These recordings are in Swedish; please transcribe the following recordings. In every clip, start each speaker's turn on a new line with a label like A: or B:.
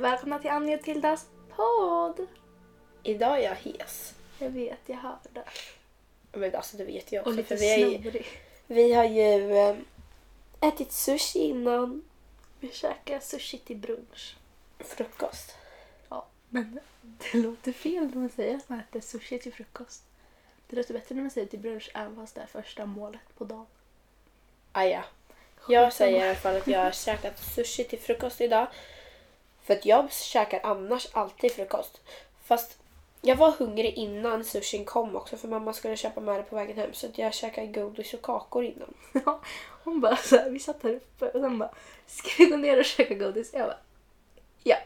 A: välkomna till Annie och Tildas podd!
B: Idag är jag hes.
A: Jag vet, jag hör det.
B: Men alltså det vet jag
A: Och
B: också.
A: lite
B: vi, har ju,
A: snorig.
B: vi har ju eh, ätit sushi innan
A: Vi käkar sushi till brunch.
B: frukost.
A: Ja, men det låter fel när man säger att man äter sushi till frukost. Det låter bättre när man säger till brunch även fast det är första målet på dagen. liksom-
B: Ah, ja. Jag säger i alla fall att jag har käkat sushi till frukost idag. För att jag käkar annars alltid frukost. Fast jag var hungrig innan sushin kom också för mamma skulle köpa med det på vägen hem. Så att jag käkade godis och kakor innan.
A: Ja, hon bara så här, vi satt här uppe och sen bara ska vi gå ner och käka godis? Jag bara ja.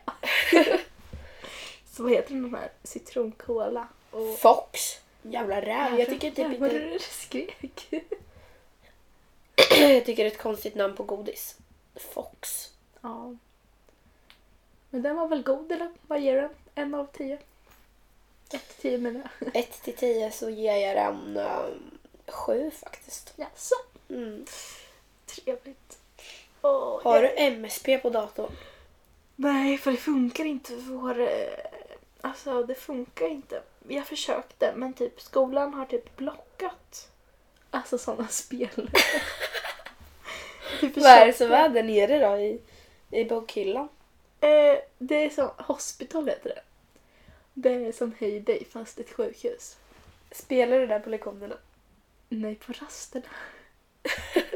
A: så vad heter den här? Citronkola och...
B: Fox! Jävla räv. Jag tycker typ
A: Jävlar,
B: inte...
A: du skrek.
B: Jag tycker det är ett konstigt namn på godis. Fox.
A: ja. Men den var väl god eller? Vad ger den? En av tio? Ett till tio menar jag.
B: 1 till 10 så ger jag den um, 7 faktiskt.
A: Jaså?
B: Mm.
A: Trevligt. Åh,
B: Har
A: jag-
B: du MSP på datorn?
A: Nej, för det funkar inte för vår... eh, Alltså, det funkar inte. Jag försökte, men typ skolan har typ blockat. Alltså sådana spel. Vi
B: Vad är det
A: försökte-
B: som är där nere då i, i bokhyllan?
A: Eh, det är som... Hospital heter det. Det är som Heyday fast ett sjukhus.
B: Spelar du där på lektionerna?
A: Nej, på rasterna.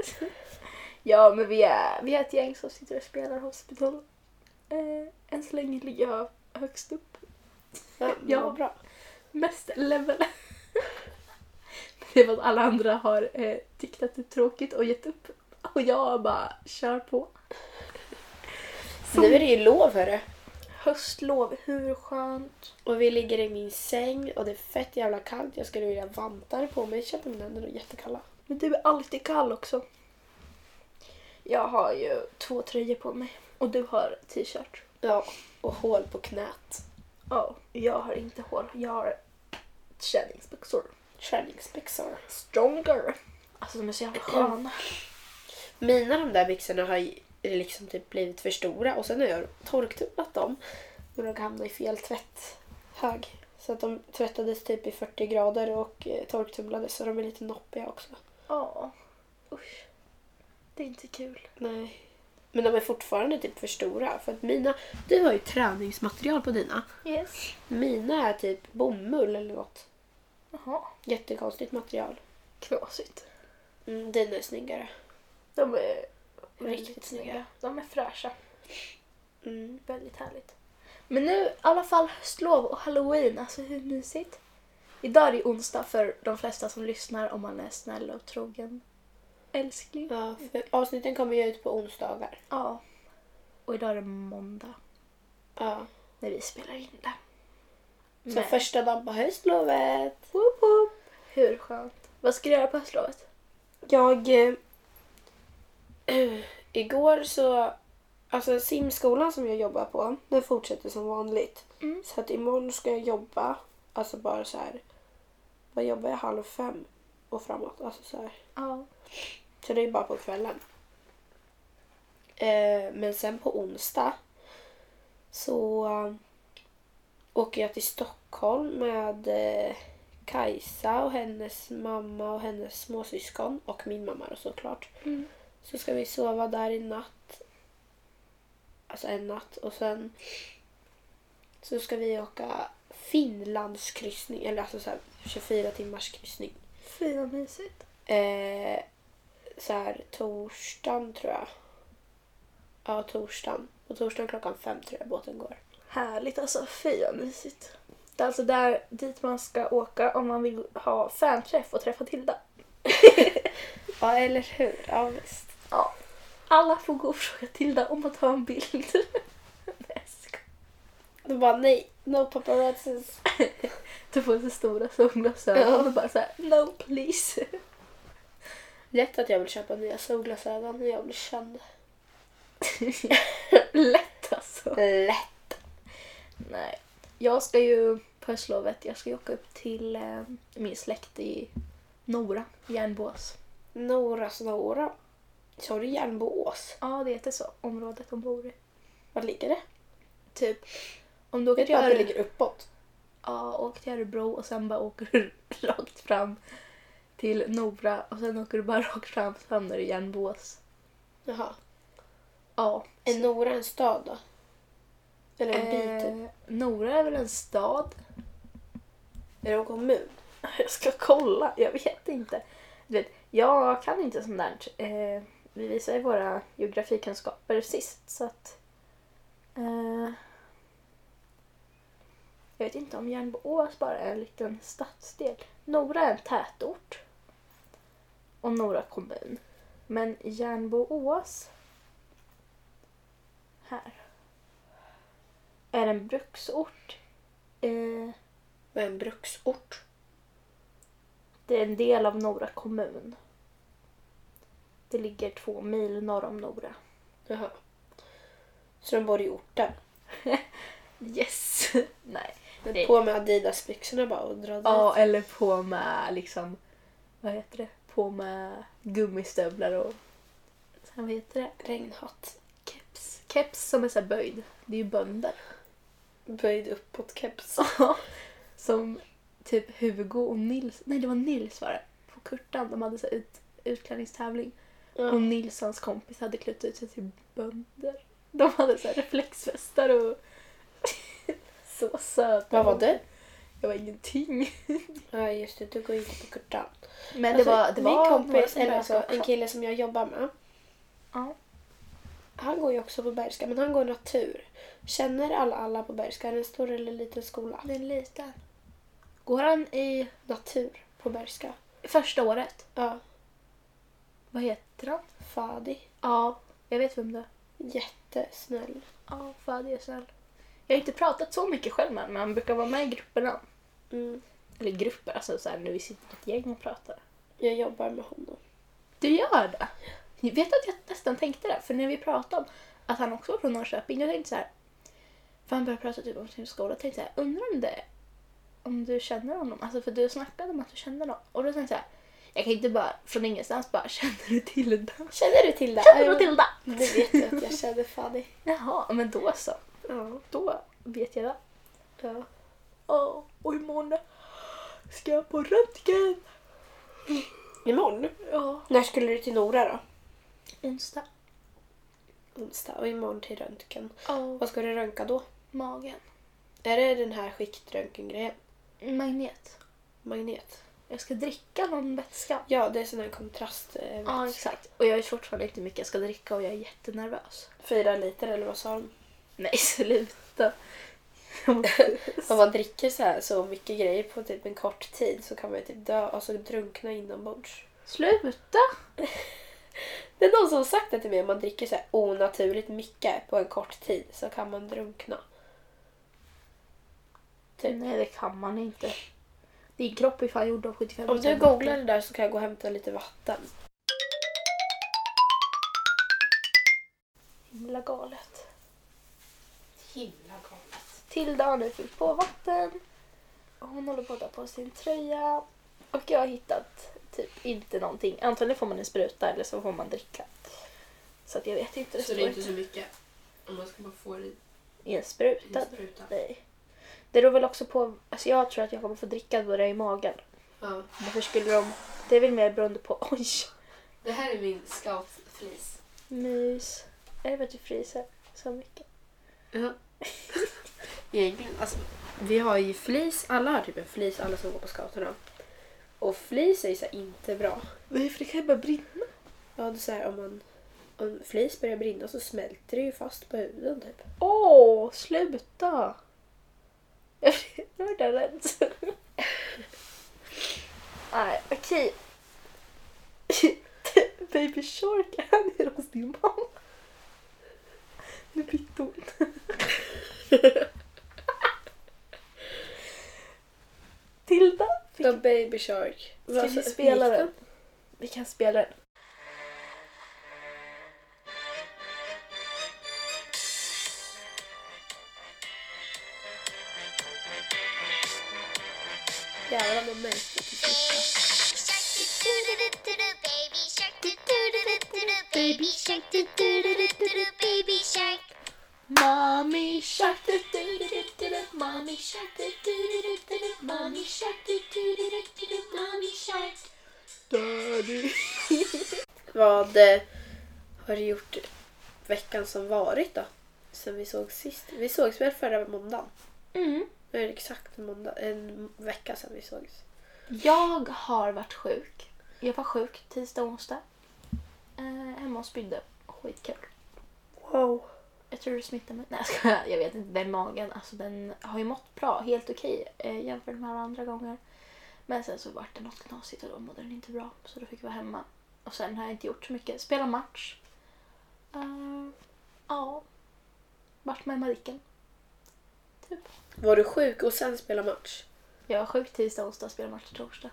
A: ja, men vi är, vi är ett gäng som sitter och spelar Hospital. Eh, än så länge ligger jag högst upp.
B: Ja,
A: Ja.
B: ja. bra.
A: mest level. det var att alla andra har eh, tyckt att det är tråkigt och gett upp. Och jag bara kör på. Som
B: Nu är det ju lov hörru.
A: höstlov, hur skönt?
B: Och vi ligger i min säng och det är fett jävla kallt. Jag skulle vilja ha vantar på mig. Känner mina händer är jättekalla.
A: Men du är alltid kall också. Jag har ju två tröjor på mig och du har t-shirt.
B: Ja, och hål på knät.
A: Ja, jag har inte hål. Jag har känningsbyxor.
B: Träningsbyxor.
A: Stronger. Alltså de är så jävla sköna.
B: Mina de där byxorna har ju liksom typ blivit för stora och sen har jag torktumlat dem och de hamnade i fel tvätthög. Så att de tvättades typ i 40 grader och eh, torktumlades så de är lite noppiga också.
A: Ja. Usch. Det är inte kul.
B: Nej. Men de är fortfarande typ för stora för att mina, du har ju träningsmaterial på dina.
A: Yes.
B: Mina är typ bomull eller något.
A: Jaha.
B: Jättekonstigt material.
A: Knasigt.
B: Mm, dina är snyggare.
A: De är
B: Riktigt snygga.
A: De är fräscha.
B: Mm.
A: Väldigt härligt. Men nu i alla fall höstlov och halloween. Alltså hur mysigt? Idag är det onsdag för de flesta som lyssnar om man är snäll och trogen. Älskling.
B: Ja, för avsnitten kommer ju ut på onsdagar.
A: Ja. Och idag är det måndag
B: Ja.
A: när vi spelar in det.
B: Så
A: Men-
B: första dagen på höstlovet.
A: Woop woop. Hur skönt? Vad ska du göra på höstlovet?
B: Jag... eh, igår så... Alltså simskolan som jag jobbar på, den fortsätter som vanligt.
A: Mm.
B: Så att imorgon ska jag jobba, alltså bara så här... Vad jobbar jag? Halv fem och framåt. Alltså så här.
A: Ja.
B: Så det är bara på kvällen. Eh, men sen på onsdag så eh, åker jag till Stockholm med eh, Kajsa och hennes mamma och hennes småsyskon och min mamma då såklart.
A: Mm.
B: Så ska vi sova där i natt. Alltså en natt och sen så ska vi åka Finlandskryssning eller alltså så här 24 timmars kryssning
A: Fy vad mysigt.
B: eh, så här torsdagen tror jag. Ja, torsdagen. På torsdagen klockan fem tror jag båten går.
A: Härligt alltså. Fy vad mysigt. Det är alltså där dit man ska åka om man vill ha fanträff och träffa Tilda.
B: Ja, eller hur? Ja, visst.
A: Ja. Alla får gå och fråga Tilda om att ta en bild. Nej, jag skojar.
B: De bara nej, no paparazzis.
A: Du får så stora solglasögon
B: Ja.
A: och bara såhär no please.
B: Lätt att jag vill köpa nya solglasögon när jag blir känd.
A: Lätt alltså.
B: Lätt.
A: Nej. Jag ska ju på höstlovet, jag ska ju åka upp till eh, min släkt i Nora, Järnbås.
B: Noras Nora. Sa du Järnboås?
A: Ja, det heter så, området de bor i.
B: Var ligger det?
A: Typ om du åker
B: Vet du
A: till,
B: att det
A: Öre...
B: ligger uppåt?
A: ja, åker till Örebro och sen bara åker du rakt fram till Nora och sen åker du bara rakt fram så hamnar du i Järnboås.
B: Jaha.
A: Ja.
B: Är Nora en stad då? Eller en by typ?
A: Eh, Nora är väl en stad?
B: Är det en kommun?
A: Jag ska kolla, jag vet inte. Du vet, jag kan inte sånt där. Eh, vi visade ju våra geografikunskaper sist så att... Eh, jag vet inte om Järnboås bara är en liten stadsdel. Nora är en tätort. Och Nora kommun. Men Järnboås... Här. Är en bruksort. Eh,
B: Vad är en bruksort?
A: Det är en del av Nora kommun. Det ligger två mil norr om Nora.
B: Jaha. Så de bor i orten?
A: Yes! Nej. Nej.
B: På med Adidas-byxorna bara och dra dit.
A: Ja, eller på med liksom, vad heter det? På med gummistövlar och sen, vad heter det?
B: Regnhatt.
A: Keps. Keps som är så här böjd. Det är ju bönder.
B: Böjd uppåt keps.
A: som typ Hugo och Nils, nej det var Nils var det, på Kurtan. De hade så här ut, utklädningstävling.
B: Ja.
A: Och Nils och hans kompis hade klätt ut sig till bönder. De hade så här reflexvästar och så söta.
B: Vad var du?
A: Jag var ingenting.
B: Ja just det, du går ju inte på Kurtan.
A: Men
B: Alltså,
A: det var, det
B: min
A: var några
B: kompis,
A: som
B: eller
A: började
B: alltså en
A: också.
B: kille som jag jobbar med.
A: Ja.
B: Han går ju också på Bergska, men han går natur. Känner alla alla på Bergska? Är det en stor eller liten skola?
A: Det är en liten. Går han i
B: Natur på Bergska.
A: första året?
B: Ja.
A: Vad heter han?
B: Fadi.
A: Ja, jag vet vem det är.
B: Jättesnäll.
A: Ja, Fadi är snäll. Jag har inte pratat så mycket själv med honom, men han brukar vara med i grupperna.
B: Mm.
A: Eller grupper, alltså så här, nu sitter vi ett gäng och pratar.
B: Jag jobbar med honom.
A: Du gör det? Jag vet att jag nästan tänkte det, för när vi pratade om att han också var från Norrköping, jag tänkte så här. För han började prata typ om sin skola, jag tänkte så här, undrar om det om du känner honom? Alltså för du snackade om att du kände någon. Och då tänkte jag så här, jag kan inte bara från ingenstans bara, känner du Tilda?
B: Känner du till det?
A: Känner du
B: Ja,
A: Tilda?
B: Du vet ju att jag känner Fadi.
A: Jaha, men då så.
B: Ja.
A: Då vet jag det.
B: ja.
A: Ja, och imorgon ska jag på röntgen.
B: Imorgon?
A: Ja,
B: När skulle du till Nora då?
A: onsdag.
B: Onsdag och imorgon till röntgen.
A: Ja,
B: Vad ska du röntga då?
A: magen.
B: Är det den här skiktröntgengrejen?
A: Magnet.
B: Magnet?
A: Jag ska dricka någon vätska.
B: Ja, det är sån här kontrast. Eh,
A: Ja, exakt. Och jag vet fortfarande inte hur mycket jag ska dricka och jag är jättenervös.
B: Fyra liter eller vad sa de?
A: Nej, sluta. Jag
B: Om
A: måste-
B: man dricker så här så mycket grejer på typ en kort tid så kan man ju typ dö, alltså drunkna inombords.
A: sluta!
B: Det är någon som har sagt det till mig, om man dricker så här onaturligt mycket på en kort tid så kan man drunkna. Typ.
A: Nej, det kan man inte. Din kropp är fan gjord av 75
B: Om du googlar det där så kan jag gå och hämta lite vatten.
A: Himla galet.
B: Himla galet.
A: Tilda har nu fyllt på vatten. Och hon håller på att ta på sin tröja. Och jag har hittat typ inte någonting. Antingen får man en spruta eller så får man dricka. Så att jag vet inte.
C: Så
A: står
C: det är inte så mycket. Om man ska bara få det i
A: i en spruta.
C: en spruta.
A: Nej. Det beror väl också på, alltså jag tror att jag kommer få dricka då det är i magen.
C: Ja.
A: Varför skulle de, det är väl mer beroende på, oj,
C: Det här är min scoutflis.
A: mys. Är det för att du fryser så mycket?
C: Ja. Egentligen, alltså.
B: Vi har ju flis, alla har typ en flis, alla som går på scouterna. Och flis är ju så här inte bra.
A: Nej, för det kan ju bara brinna.
B: Ja, det är så här, om, man, om flis börjar brinna så smälter det ju fast på huden typ.
A: Åh, sluta! Jag blir redan rädd. Nej, okej. Baby Shark är nere hos din mamma. Nu bytte hon. Tilda,
B: The Baby Shark.
A: ska vi spela den? Vi kan spela den.
B: Jävlar vad märkligt.
D: Baby shark, baby shark, baby shark,
A: Mommy shark, do do do do do do. Mommy shark, do do do do do do. Mommy shark, do do do do do do. Mommy shark. Daddy.
B: Vad eh, har du gjort veckan som varit då? Sen vi såg sist. Vi sågs väl förra måndagen?
A: Mm.
B: Nu är det exakt en, måndag, en vecka sedan vi sågs.
A: Jag har varit sjuk. Jag var sjuk tisdag och onsdag. Eh, hemma och spydde. Skitkul.
B: Wow.
A: Jag tror du smittade mig. Nej jag skojar. jag vet inte. Den magen, alltså den har ju mått bra. Helt okej eh, jämfört med alla andra gånger. Men sen så vart det något knasigt och då mådde den inte bra. Så då fick jag vara hemma. Och sen har jag inte gjort så mycket. Spela match. Eh, ja. Vart med Mariken.
B: Var du sjuk och sen spela match?
A: Jag var sjuk tisdag, onsdag, spelade match torsdag.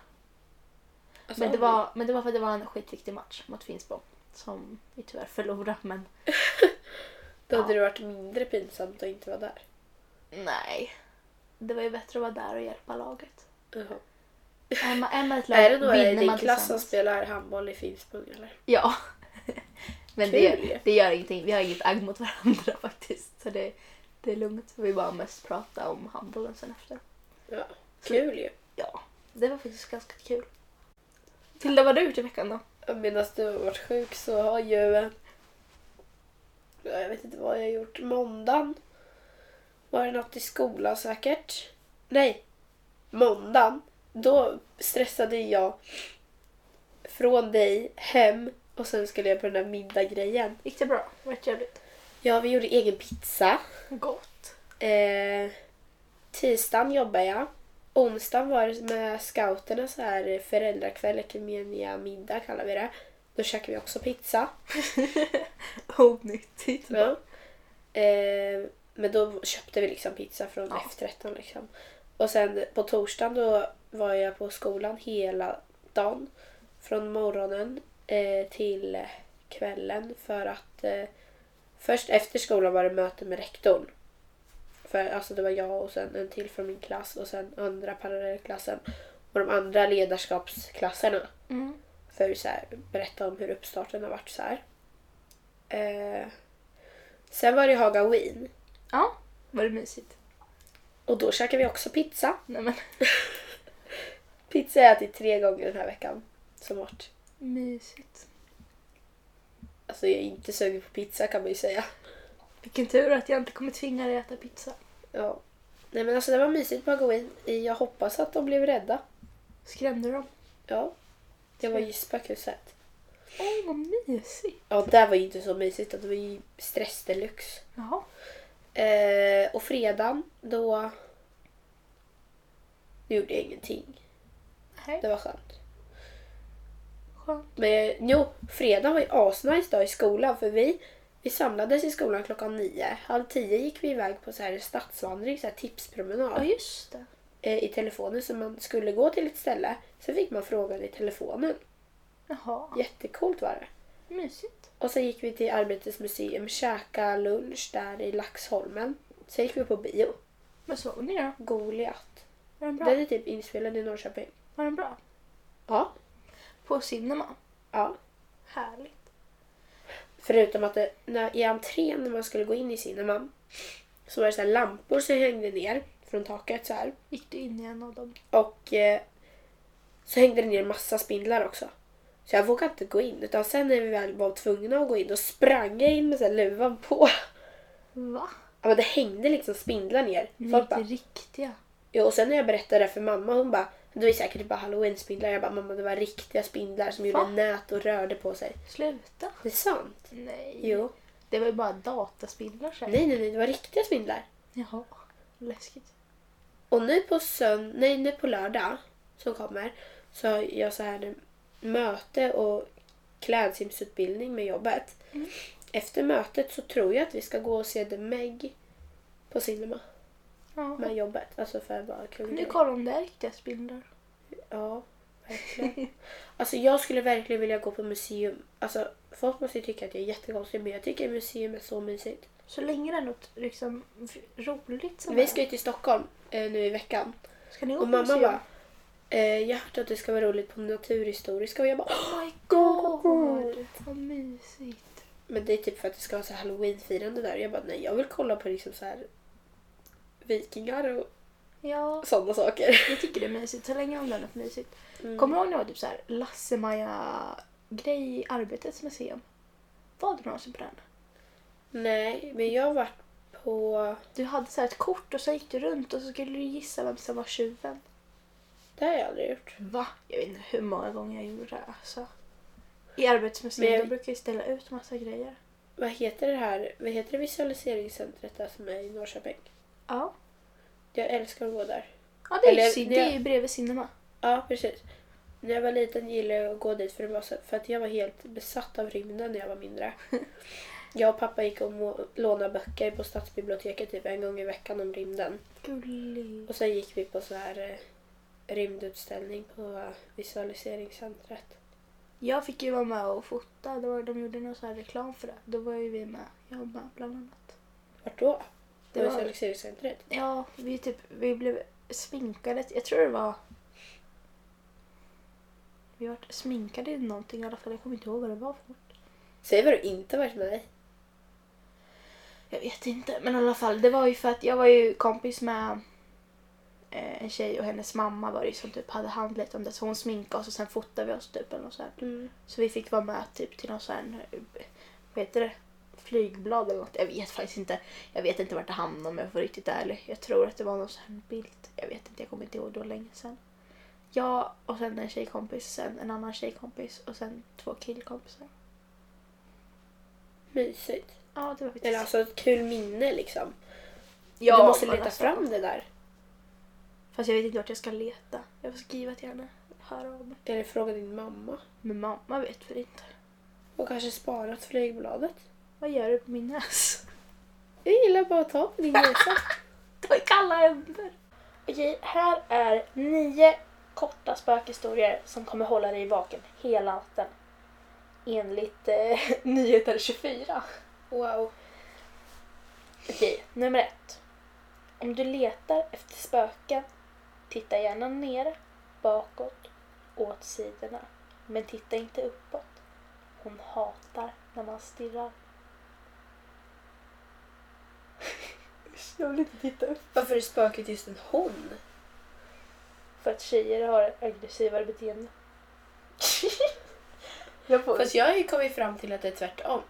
B: Alltså,
A: Men det, var, men det var för att det var en skitviktig match mot Finspång. Som vi tyvärr förlorade men
B: Då hade det varit mindre pinsamt att inte vara där.
A: nej. Det var ju bättre att vara där och hjälpa laget.
B: Jaha.
A: Är man, är man ett lag
B: Är det några i
A: vinner
B: din
A: man
B: klass som
A: tillsammans.
B: spelar handboll i Finspång eller?
A: Ja. Men det
B: Kul ju.
A: gör, det gör ingenting. Vi har inget agg mot varandra faktiskt. Så det, det är lugnt. Vi bara mest prata om handbollen sen efter.
B: Ja. Kul ju.
A: Ja, det var faktiskt ganska kul. Tilda, vad har du gjort i veckan då?
B: Medan du har varit sjuk så har ju... eh, Jag vet inte vad jag har gjort. Måndagen var det något i skolan säkert. Nej, måndagen. Då stressade jag från dig hem och sen skulle jag på den där middaggrejen.
A: Gick det bra? Var det trevligt?
B: Ja, vi gjorde egen pizza.
A: Gott.
B: Eh, tisdagen jobbade jag. Onsdagen var det med scouterna så här föräldrakväll, ekumenia middag kallar vi det. Då käkade vi också pizza.
A: Onyttigt.
B: Ja. Eh, men då köpte vi liksom pizza från
A: Ja.
B: efterrätten. Liksom. Och sen på torsdagen då var jag på skolan hela dagen. Från morgonen eh, till kvällen för att eh, först efter skolan var det möte med rektorn. För alltså det var jag och sen en till från min klass och sen andra parallellklassen och de andra ledarskapsklasserna
A: Mm.
B: för att så här, berätta om hur uppstarten har varit. Så här. Eh, sen var det Haga Wien
A: Ja, var det mysigt?
B: och då käkade vi också pizza.
A: Nej men,
B: Pizza har jag ätit tre gånger den här veckan som vart.
A: mysigt.
B: Alltså jag är inte sugen på pizza kan man ju säga.
A: Vilken tur att jag inte kommer tvinga dig att äta pizza.
B: Ja. Nej men alltså det var mysigt på Haga Wien. Jag hoppas att de blev rädda.
A: Skrämde du dem?
B: Ja. Det var ju spökhuset.
A: Åh, oh, vad mysigt.
B: Ja, det var ju inte så mysigt. Det var ju stress deluxe.
A: Jaha.
B: Eh, och fredagen då... Då gjorde jag ingenting.
A: Nej,
B: Det var skönt.
A: skönt.
B: Men jo, fredagen var ju asnice dag i skolan för vi, vi samlades i skolan klockan nio. Halv tio gick vi iväg på så här stadsvandring, så här
A: Ja,
B: tipspromenad
A: just det.
B: eh, i telefonen. Så man skulle gå till ett ställe, så fick man frågan i telefonen.
A: Jaha,
B: Jättecoolt var det.
A: mysigt.
B: Och sen gick vi till Arbetets museum, käka lunch där i Laxholmen. Sen gick vi på bio,
A: Men såg ni då?
B: Goliat.
A: Var den bra?
B: Den är typ inspelad i Norrköping.
A: Var den bra?
B: Ja.
A: På cinema.
B: ja.
A: Härligt.
B: Förutom att det, när, i entrén när man skulle gå in i cineman så var det så här lampor som hängde ner från taket så här.
A: Gick du in i en av dem?
B: Och eh, så hängde det ner massa spindlar också. Så jag vågade inte gå in utan sen när vi väl var tvungna att gå in då sprang jag in med så här luvan på.
A: Va?
B: Ja, men det hängde liksom spindlar ner.
A: Nej,
B: Folk
A: inte
B: bara,
A: riktiga.
B: jo, och sen när jag berättade det för mamma hon bara det var säkert bara halloween-spindlar. Jag bara mamma det var riktiga spindlar som gjorde
A: Va?
B: nät och rörde på sig.
A: Sluta.
B: Det är sant.
A: Nej.
B: Jo.
A: Det var ju bara dataspindlar säkert.
B: Nej nej nej det var riktiga spindlar.
A: Jaha. Läskigt.
B: Och nu på sönd- nej nu på lördag som kommer så har jag så här möte och klädsimsutbildning med jobbet.
A: Mm.
B: Efter mötet så tror jag att vi ska gå och se The Meg på cinema
A: Ja.
B: med jobbet. Alltså för att bara kul
A: Nu
B: grej.
A: kollar om det är riktiga spindlar.
B: Ja, verkligen. alltså jag skulle verkligen vilja gå på museum. Alltså folk måste ju tycka att jag är jättekonstig men jag tycker museum är så mysigt.
A: Så länge det är något liksom, roligt som
B: Vi
A: är.
B: ska ju till Stockholm eh, nu i veckan.
A: ska ni gå
B: Och
A: på
B: mamma
A: museum?
B: bara, eh, jag har hört att det ska vara roligt på Naturhistoriska och jag bara
A: Oh my god! Vad mysigt.
B: Men det är typ för att det ska vara så här halloween-firande där. Jag bara nej, jag vill kolla på liksom så här vikingar och
A: Ja,
B: sådana saker.
A: Alltså, jag tycker det är mysigt så länge de gör något mysigt.
B: Mm.
A: Kommer du ihåg när det var typ så här Lasse-Maja-grej i Arbetets museum? Var du någonsin på den?
B: Nej, men jag har varit på...
A: Du hade så här ett kort och så gick du runt och så skulle du gissa vem som var tjuven.
B: Det har jag aldrig gjort.
A: Va? Jag vet inte hur många gånger jag gjorde det. Alltså. I Arbetets museum
B: Men jag-
A: de brukar ju ställa ut massa grejer.
B: Vad heter det här? Vad heter det visualiseringscentret där som är i Norrköping?
A: Ja.
B: Jag älskar att gå där.
A: Ja, det är,
B: Eller-
A: ju, det är ju bredvid cinema.
B: Ja, precis. När jag var liten gillade jag att gå dit för, det var så, för att jag var helt besatt av rymden när jag var mindre. Jag och pappa gick och må- lånade böcker på stadsbiblioteket typ en gång i veckan om rymden.
A: Gullig.
B: Och sen gick vi på så här eh, rymdutställning på eh, visualiseringscentret.
A: Jag fick ju vara med och fota. Det var, de gjorde någon så här reklam för det. Då var ju vi med. Jag var med bland annat.
B: Vart då?
A: Det
B: Det var
A: var-
B: visualiseringscentret?
A: Ja, vi, typ, vi blev sminkade. Jag tror det var... Vi var sminkade i någonting i alla fall. Jag kommer inte ihåg vad det var för något.
B: Säg vad du inte varit med i.
A: Jag vet inte, men i alla fall. Det var ju för att jag var ju kompis med eh, en tjej och hennes mamma var det ju som typ hade hand lite om det. Så hon sminkade oss och sen fotade vi oss typ eller något sånt.
B: Mm.
A: Så vi fick vara med typ till någon sån här, eh, vad heter det, flygblad eller något. Jag vet faktiskt inte. Jag vet inte vart det hamnade om jag får riktigt ärlig. Jag tror att det var någon sån här bild. Jag vet inte, jag kommer inte ihåg. Det var länge sedan. Jag och sen en tjejkompis, sen en annan tjejkompis och sen två killkompisar.
B: Mysigt.
A: Ja, det var faktiskt...
B: Eller alltså ett kul minne liksom.
A: Ja,
B: du måste
A: men
B: leta
A: alltså-
B: fram det där.
A: Fast jag vet inte vart jag ska leta. Jag får skriva till henne. Höra av mig.
B: Eller fråga din mamma.
A: Men mamma vet väl inte.
B: Och kanske sparat flygbladet.
A: Vad gör du på min näs?
B: Jag gillar bara att ta på din näsa.
A: Det var kalla händer. Okej, här är nio korta spökhistorier som kommer hålla dig vaken hela natten. Enligt eh, Nyheter 24.
B: Wow.
A: Okej, nummer ett. Om du letar efter spöken, titta gärna ner, bakåt, åt sidorna. Men titta inte uppåt. Hon hatar när man stirrar. Jag vill inte titta upp.
B: Varför är spöket just en hon?
A: För att tjejer har ett aggressivare beteende. jag får...
B: Fast jag har ju kommit fram till att det är tvärtom.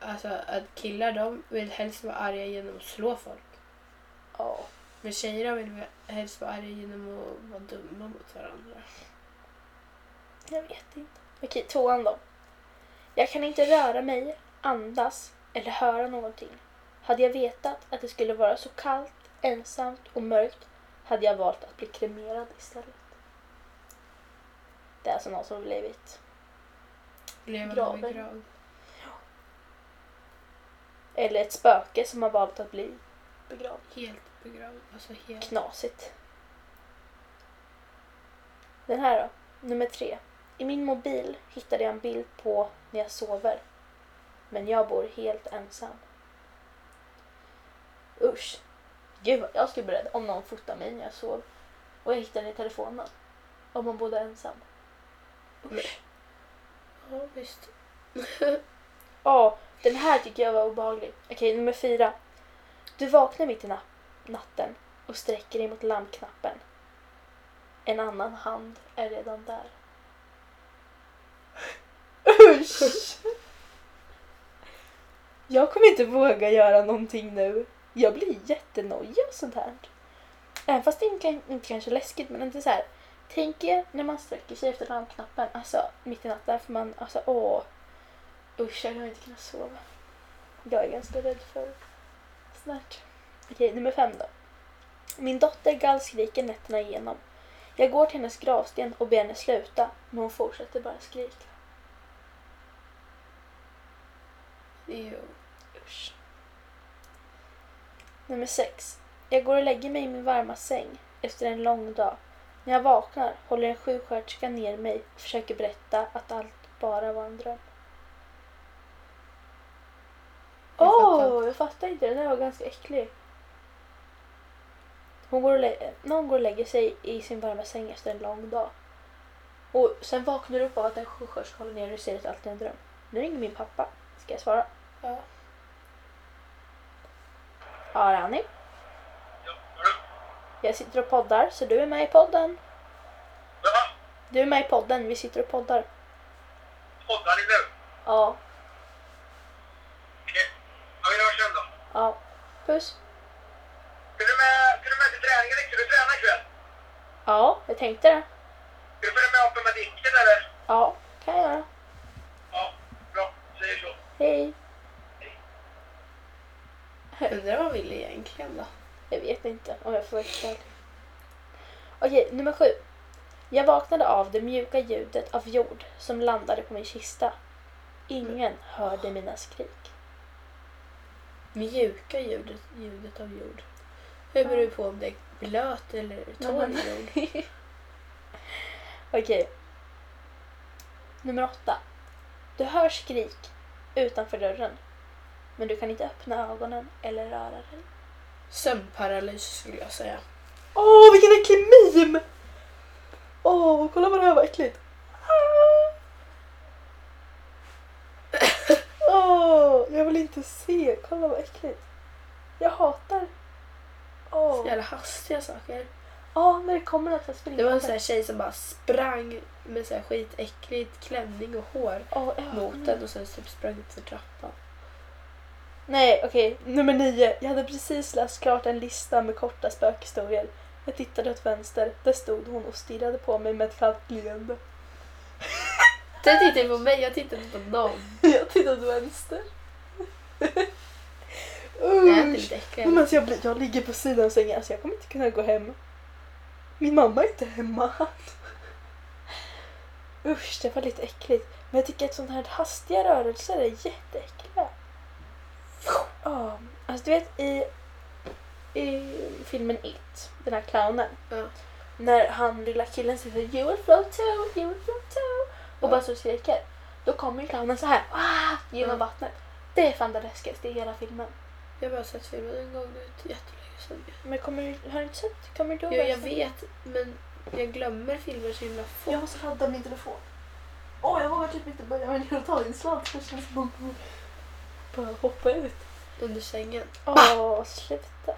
B: Alltså att killar de vill helst vara arga genom att slå folk.
A: Ja.
B: Men tjejer de vill helst vara arga genom att vara dumma mot varandra.
A: Jag vet inte. Okej, tvåan då. Jag kan inte röra mig, andas eller höra någonting. Hade jag vetat att det skulle vara så kallt, ensamt och mörkt hade jag valt att bli kremerad istället. Det är alltså någon som har blivit...
B: Leva
A: Graven.
B: med grav.
A: Eller ett spöke som har valt att bli begravd.
B: Helt begravd. Alltså helt.
A: Knasigt. Den här då, nummer tre. I min mobil hittade jag en bild på när jag sover. Men jag bor helt ensam. Usch. Gud vad jag skulle bli rädd om någon fotade mig när jag sov. Och jag hittade den i telefonen. Om man bodde ensam. Usch.
B: Ja visst.
A: Ja, den här tycker jag var obehaglig. Okej, nummer fyra. Du vaknar mitt i na- natten och sträcker dig mot larmknappen. En annan hand är redan där. Usch! Jag kommer inte våga göra någonting nu. Jag blir jättenojig och sånt här. Även fast det inte, inte kanske är läskigt, men inte så här. Tänk er när man sträcker sig efter larmknappen, alltså mitt i natten, för man, alltså åh. Usch, jag har inte kunnat sova. Jag är ganska rädd för snart. Okej, nummer fem då. Min dotter gallskriker nätterna igenom. Jag går till hennes gravsten och ber henne sluta, men hon fortsätter bara skrika.
B: Jo.
A: Usch. Nummer sex. Jag går och lägger mig i min varma säng efter en lång dag. När jag vaknar håller en sjuksköterska ner mig och försöker berätta att allt bara var en dröm.
B: Jag
A: Åh,
B: fattar
A: jag fattar inte. Den där var ganska äcklig. Hon går och lä- någon går och lägger sig i sin varma säng efter en lång dag. Och sen vaknar du upp av att en sjuksköterska håller ner dig och säger att allt är en dröm. Nu ringer min pappa. Ska jag svara?
B: Ja.
A: Ja, Rani. Jag sitter och poddar, så du är med i podden. Du är med i podden, vi sitter och poddar.
D: Poddar ni nu?
A: Ja,
D: Okej. Ja, vi hörs sen då.
A: ja. Puss.
D: Ska du med, ska du med till träningen? Ska du träna ikväll?
A: Ja, jag tänkte det.
D: Ska du följa med uppe med Dicken eller?
A: Ja, kan jag göra.
D: Ja, bra. Säger så.
A: Hej.
B: Undrar vad vill egentligen då?
A: Jag vet inte om jag får vara helt ärlig. Okej, nummer sju. Jag vaknade av det mjuka ljudet av jord som landade på min kista. Ingen hörde mina skrik.
B: Mjuka ljudet, ljudet av jord. Hur beror det på om det är blöt eller torr
A: men-
B: jord?
A: Okej. Nummer åtta. Du hör skrik utanför dörren. Men du kan inte öppna ögonen eller röra dig.
B: Sömnparalys skulle jag säga.
A: Åh, vilken äcklig meme! Åh, kolla vad det här var äckligt. Ah! Åh, jag vill inte se. Kolla vad äckligt. Jag hatar. Åh,
B: Så jävla hastiga saker.
A: Ja, när det kommer något så springer
B: Det var en
A: jag.
B: sån här tjej som bara sprang med så här skitäckligt klänning och hår
A: Åh, öh, mm. ögonen.
B: mot den och sen typ sprang upp för trappan.
A: Nej, okej. Nummer nio. Jag hade precis läst klart en lista med korta spökhistorier. Jag tittade åt vänster. Där stod hon och stirrade på mig med ett kallt leende.
B: Den tittade på mig, jag tittade inte på någon.
A: Jag tittade åt vänster.
B: Det
A: Usch!
B: är lite
A: Nej, men
B: äckligt.
A: alltså jag, blir, jag ligger på sidan av sängen. Alltså jag kommer inte kunna gå hem. Min mamma är inte hemma. Usch, det var lite äckligt. Men jag tycker att sådana här hastiga rörelser är jätteäckliga. Ja, alltså du vet i, i filmen It, den här clownen.
B: Ja.
A: När han lilla killen sitter You will float too, you will float too. Och
B: Ja.
A: bara så skriker. Då kommer ju clownen så här ah, genom
B: Ja.
A: vattnet. Det är fan det läskigaste i hela filmen.
B: Jag har bara sett filmen en gång nu, jättelänge sedan.
A: Men kommer, har du inte sett? Kommer du
B: Jo, jag vet, men jag glömmer filmer så himla fort.
A: Jag måste ladda min telefon. Åh, jag vågar typ inte börja med en hel talingsladd. Det känns som att man bara hoppa ut. Ah.
B: Under sängen.
A: Åh, sluta.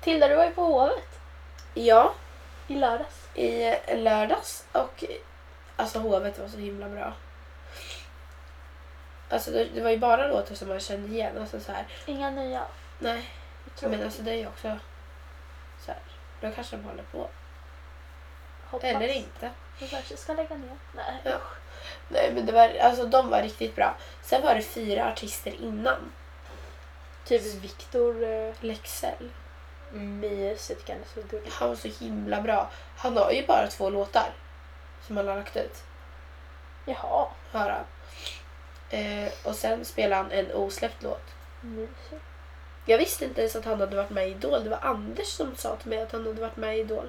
A: Tilda, du var ju på Hovet
B: Ja,
A: i lördags.
B: i lördags och alltså hovet var så himla bra. Alltså det, det var ju bara låtar som man kände igen. Alltså så här,
A: Inga nya.
B: nej,
A: Jag tror
B: men alltså det är ju också så här, då kanske de håller på.
A: hoppas.
B: Eller inte.
A: Vi kanske ska lägga ner. Nej.
B: Ja. Nej men det var, alltså de var riktigt bra. Sen var det fyra artister innan.
A: Typ Viktor eh,
B: Lexell.
A: Myers är ganska gullig.
B: Han var så himla bra. Han har ju bara två låtar som han har lagt ut.
A: Jaha,
B: Har han. Eh, och sen spelade han en osläppt låt.
A: mysigt.
B: Jag visste inte ens att han hade varit med i Idol. Det var Anders som sa till mig att han hade varit med i Idol.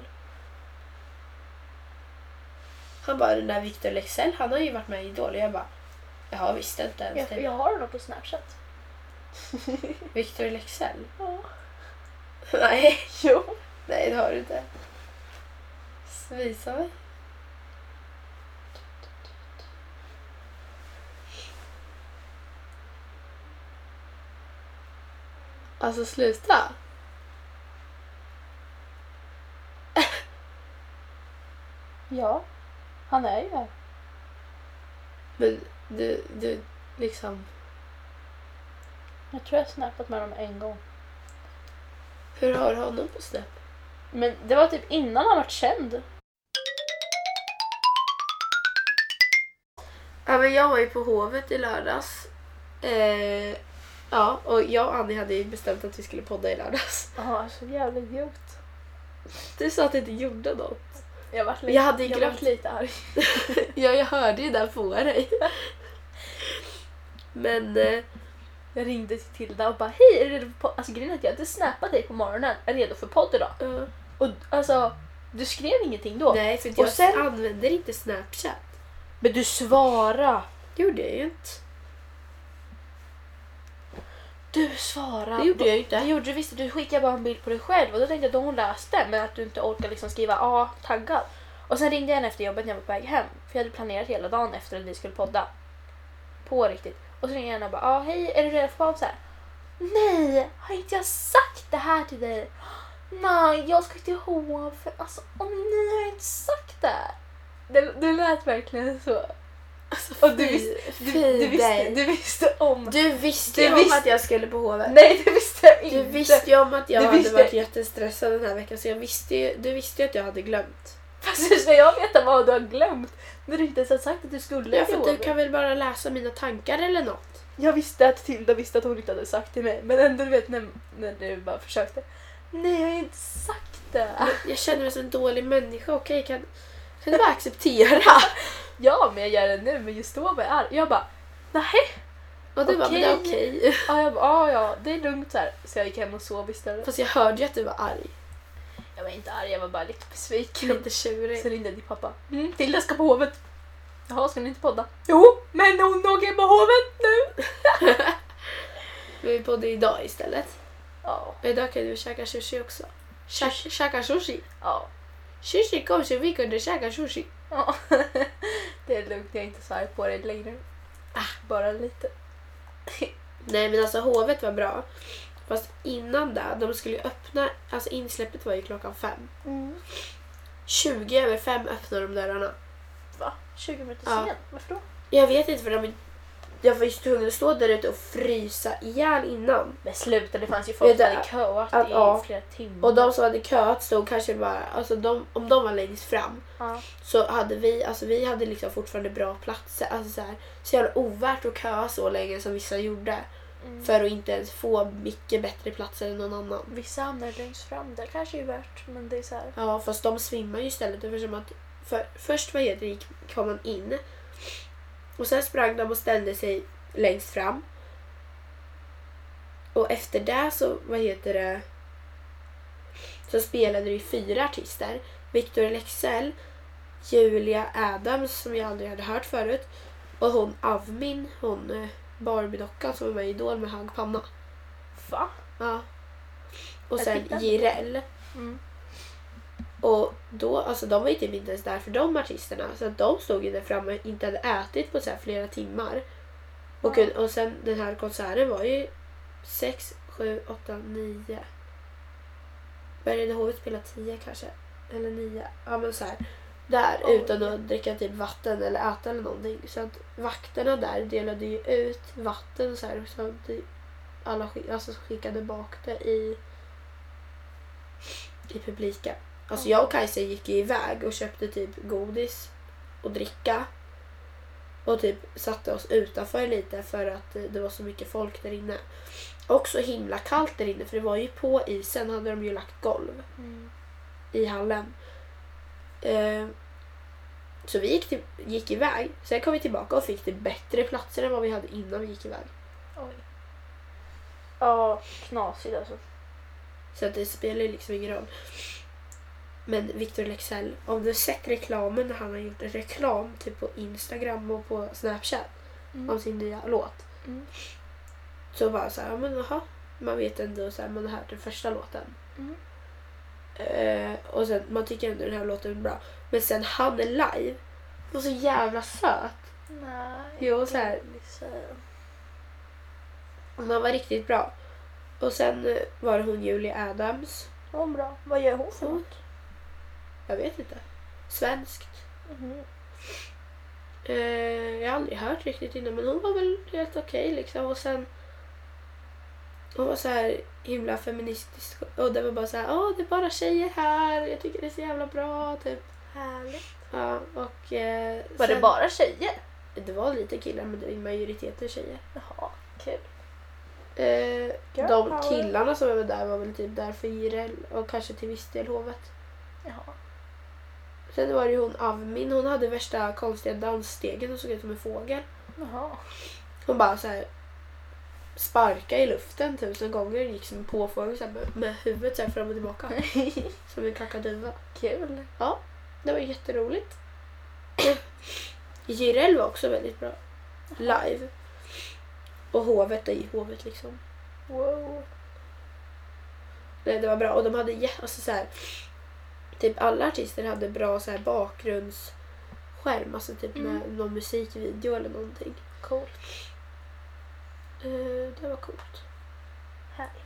B: Han bara, den där Victor Lexell, han har ju varit med i Idol. Och jag bara, jag visste inte ens
A: Jag,
B: det.
A: jag har honom på Snapchat.
B: Victor Lexell?
A: Ja.
B: Nej,
A: Jo.
B: nej det har du inte. Så Visa mig. Alltså sluta.
A: Ja, han är ju här.
B: Men du, du liksom,
A: Jag tror jag har snappat med honom en gång.
B: hur har du honom på Snap?
A: Men det var typ innan han var känd.
B: Ja, men jag var ju på Hovet i lördags. Eh, ja, och jag och Annie hade ju bestämt att vi skulle podda i lördags.
A: Ja, så jävla idiot.
B: Du sa att det inte gjorde något.
A: Jag vart
B: Jag hade ju
A: jag
B: glömt-
A: vart lite arg.
B: Ja, jag hörde ju det på dig. Men eh,
A: Jag ringde till Tilda och bara hej, är du redo för podd? Alltså grejen är att jag hade snappat dig på morgonen. Är du redo för podd idag?
B: ja.
A: Och alltså, du skrev ingenting då.
B: nej, för jag
A: sen-
B: använder inte Snapchat.
A: Men du svara.
B: Det gjorde jag ju inte.
A: Du svara.
B: Det gjorde jag ju
A: Det
B: inte.
A: gjorde du visst. Du skickade bara en bild på dig själv och då tänkte jag att hon läste men att du inte orkar liksom skriva ja, taggad. Och sen ringde jag henne efter jobbet när jag var på väg hem. För jag hade planerat hela dagen efter att vi skulle podda. på riktigt. Och så ringer jag henne och bara ah, hej, är du redo för paus? Så här, Nej, har inte jag sagt det här till dig? Nej, jag ska till H&M för alltså om ni har jag inte sagt det här. Det, det lät verkligen så. och du, visste- du,
B: fy
A: du, visste,
B: dig.
A: du visste om.
B: Du visste
A: Du
B: ju om
A: visste-
B: att jag skulle på hovet.
A: Nej, det visste jag inte.
B: Du visste ju om att jag
A: Du
B: hade
A: visste-
B: varit jättestressad den här veckan så jag visste ju, du visste ju att jag hade glömt.
A: Fast hur ska Alltså, jag veta vad du har glömt? När du inte ens har sagt att du skulle
B: Ja, för
A: till
B: du
A: H&M?
B: kan väl bara läsa mina tankar eller något?
A: Jag visste att Tilda visste att hon inte hade sagt till mig. Men ändå du vet när, när du bara försökte. Nej, jag har inte sagt det.
B: Jag känner mig som en dålig människa, okej kan, kan du bara acceptera?
A: Ja, men jag gör det nu. Men just då var jag arg. Jag bara, nej.
B: Och du bara, men det är okej.
A: Okej. Ja, jag bara, ja, ja, det är lugnt så här. Så jag gick hem och sov istället.
B: Fast jag hörde ju att du var arg.
A: Jag var inte arg, jag var bara lite besviken.
B: Lite tjurig.
A: Så ringde din pappa. Mm, Tilda ska på hovet. Jaha, ska ni inte podda? Jo, men hon åker på hovet nu.
B: Men vi bodde idag istället.
A: Ja,
B: Men idag kunde vi käka sushi också. Käka, käka sushi.
A: ja,
B: Sushi kom så vi kunde käka sushi.
A: ja. Det är lugnt, jag är inte så arg på dig längre. Ah, Bara lite.
B: Nej men alltså hovet var bra. Fast innan det, de skulle ju öppna, alltså insläppet var ju klockan fem.
A: Mm.
B: 20 över fem öppnade de dörrarna.
A: Va? 20 minuter
B: Ja.
A: sen? Varför då?
B: Jag vet inte för de, jag var ju tvungen att stå där ute och frysa ihjäl innan.
A: Men sluta, det fanns ju
B: Vet
A: folk
B: du,
A: som hade köat
B: att-
A: i
B: ja.
A: flera timmar.
B: Och de som hade köat stod kanske bara, alltså de, om de var längst fram
A: ja.
B: så hade vi, alltså vi hade liksom fortfarande bra platser. Alltså så, här, så jävla ovärt att köa så länge som vissa gjorde.
A: Mm.
B: För att inte ens få mycket bättre platser än någon annan.
A: Vissa hamnar längst fram, det kanske är värt, men det är så här.
B: Ja, fast de svimmar ju istället eftersom att för, först vad heter det, gick- kom man in och sen sprang de och ställde sig längst fram. Och efter det så, vad heter det, så spelade det ju fyra artister. Victor Lexell, Julia Adams som jag aldrig hade hört förut och hon Avmin, hon eh, Barbie-dockan som var med i Idol med hög panna.
A: Va?
B: Ja. Och
A: Jag
B: sen
A: tittar.
B: Jireel.
A: Mm.
B: Och då, alltså de var ju typ inte ens där för de artisterna. Så att de stod ju där framme och inte hade ätit på så här flera timmar. Och,
A: Ja.
B: och sen den här konserten var ju sex, sju, åtta, nio. Började hovet spela tio kanske? Eller nio? Ja men så här. Där
A: Oj.
B: utan att dricka typ vatten eller äta eller någonting. Så att vakterna där delade ju ut vatten så här. Så att det- alla skick, alltså, skickade bak det i, i publiken. Alltså jag och Kajsa gick ju iväg och köpte typ godis och dricka. Och typ satte oss utanför lite för att eh, det var så mycket folk där inne. Och så himla kallt där inne för det var ju på isen hade de ju lagt golv
A: Mm.
B: i hallen. Eh, så vi gick, till, gick iväg. Sen kom vi tillbaka och fick det bättre platser än vad vi hade innan vi gick iväg.
A: Oj. Ja, knasigt alltså.
B: Så att det spelar ju liksom ingen roll. Men Victor Lexell, om du sett reklamen, han har gjort en reklam typ på Instagram och på Snapchat
A: Mm.
B: om sin nya låt.
A: Mm.
B: Så bara så här, ja men jaha. Man vet ändå så här, man har hört den första låten.
A: Mm.
B: Eh, och sen, man tycker ändå den här låten är bra. Men sen han är live. Han var så jävla söt.
A: Nej.
B: Jo, så här. Och han var riktigt bra. Och sen eh, var det hon Julie Adams.
A: Hon bra. Vad gör hon för
B: Mm.
A: något?
B: Jag vet inte. Svenskt.
A: Mhm.
B: Eh, jag har aldrig hört riktigt innan men hon var väl helt okej liksom. Och sen hon var så här himla feministisk och det var bara så här, åh det är bara tjejer här, jag tycker det är så jävla bra typ.
A: Härligt.
B: Ja, och, eh,
A: Var det
B: sen-
A: bara tjejer?
B: Det var lite killar men det var majoriteten tjejer.
A: Jaha, kul.
B: Eh,
A: Girl
B: de
A: power.
B: killarna som var där var väl typ där för Jireel och kanske till viss del hovet.
A: Jaha.
B: Sen var det ju hon Avmin, hon hade värsta konstiga dansstegen och såg ut som en fågel.
A: Jaha.
B: Hon bara så här sparkade i luften tusen gånger och gick som en påfågel så här, med- med huvudet så här fram och tillbaka. som en kakaduva.
A: Kul.
B: Ja, det var jätteroligt. Jireel var också väldigt bra. Live. Och hovet är i hovet liksom.
A: Wow.
B: Nej, det var bra. Och de hade jä- alltså, så här, typ alla artister hade bra så här, bakgrundsskärm, alltså typ med någon musikvideo eller någonting.
A: Coolt.
B: Eh, det var coolt.
A: Härligt.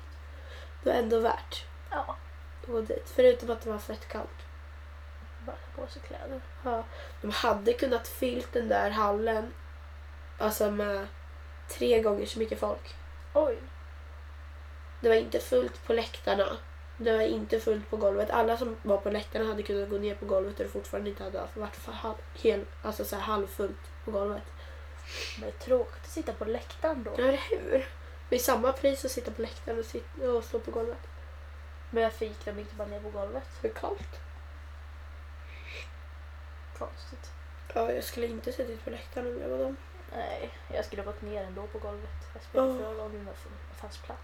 B: Det var ändå värt
A: Ja.
B: att gå dit. Förutom att det var fett kallt.
A: Bara ta på sig kläder.
B: Ja. De hade kunnat fyllt den där hallen alltså med tre gånger så mycket folk.
A: Oj.
B: Det var inte fullt på läktarna. Det var inte fullt på golvet. Alla som var på läktarna hade kunnat gå ner på golvet och det fortfarande inte hade varit för halv, hel, alltså så här halvfullt på golvet.
A: Men det är tråkigt att sitta på läktaren då.
B: Ja, eller hur? Det är samma pris att sitta på läktaren och, sitta och stå på golvet.
A: Men varför gick de inte bara ner på golvet?
B: För kallt.
A: Konstigt.
B: Ja, jag skulle inte suttit på läktaren om jag var dem.
A: Nej, jag skulle ha gått ner ändå på golvet. Jag spelade
B: Ja.
A: förra gången och det fanns plats.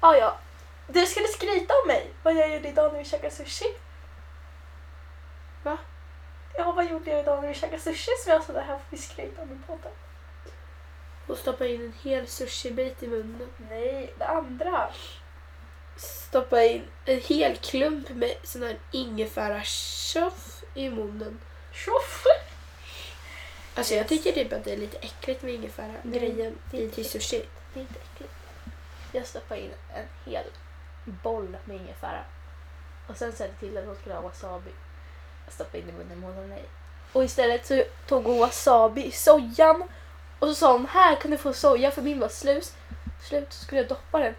A: Ah, ja. Du skulle skryta om mig vad jag gjorde idag när vi käkade sushi.
B: Va?
A: Ja, vad gjorde jag idag när vi käkade sushi som jag sa det här får vi skryta om i podden.
B: Och stoppa in en hel sushibit i munnen.
A: Nej, det andra.
B: Stoppa in en hel klump med sån här ingefära tjoff i munnen.
A: Tjoff!
B: Alltså jag tycker typ att det är lite äckligt med ingefära
A: Nej,
B: grejen
A: Mm, det är typ-
B: i
A: inte
B: till sushi.
A: Det är inte äckligt. Jag stoppade in en hel boll med ingefära. Och sen sa jag till att hon skulle ha wasabi. Jag stoppade in i munnen men hon sa nej. Och istället så tog hon wasabi i sojan. Och så sa hon här kan du få soja för min var slus. Slut så skulle jag doppa den.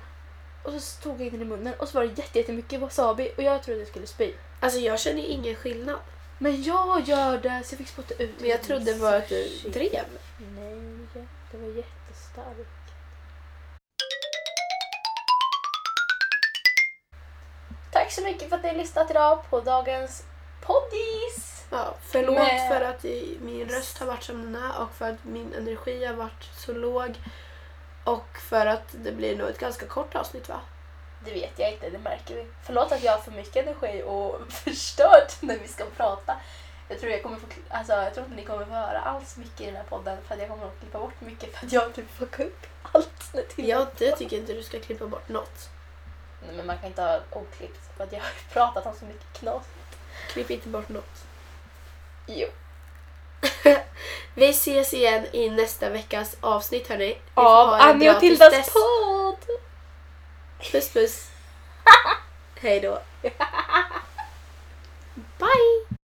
A: Och så tog jag in den i munnen och så var det jätte- jättemycket wasabi och jag trodde jag skulle spy.
B: Alltså jag känner ingen skillnad.
A: Men jag gör det så jag fick spotta ut
B: Men jag trodde bara att du
A: Sushi.
B: drev.
A: Nej, det var jättestarkt. Tack så mycket för att ni har lyssnat idag på dagens poddis.
B: Ja, förlåt
A: Men-
B: för att i- min röst har varit som den är och för att min energi har varit så låg. Och för att det blir nog ett ganska kort avsnitt va?
A: Det vet jag inte, det märker vi. Förlåt att jag har för mycket energi och förstört när vi ska prata. Jag tror, jag, kommer få, alltså, jag tror inte ni kommer få höra alls mycket i den här podden för att jag kommer att klippa bort mycket för att jag typ fuckar upp allt. när till-
B: Ja, det tycker jag inte du ska klippa bort något.
A: Nej, men man kan inte ha oklippt för att jag har ju pratat om så mycket knas.
B: Klipp inte bort något.
A: Jo.
B: Vi ses igen i nästa veckas avsnitt hörni. Ni får
A: Av
B: ha det
A: Anja
B: bra
A: och
B: tills
A: Tildas
B: dess.
A: podd!
B: Puss puss. Hej då.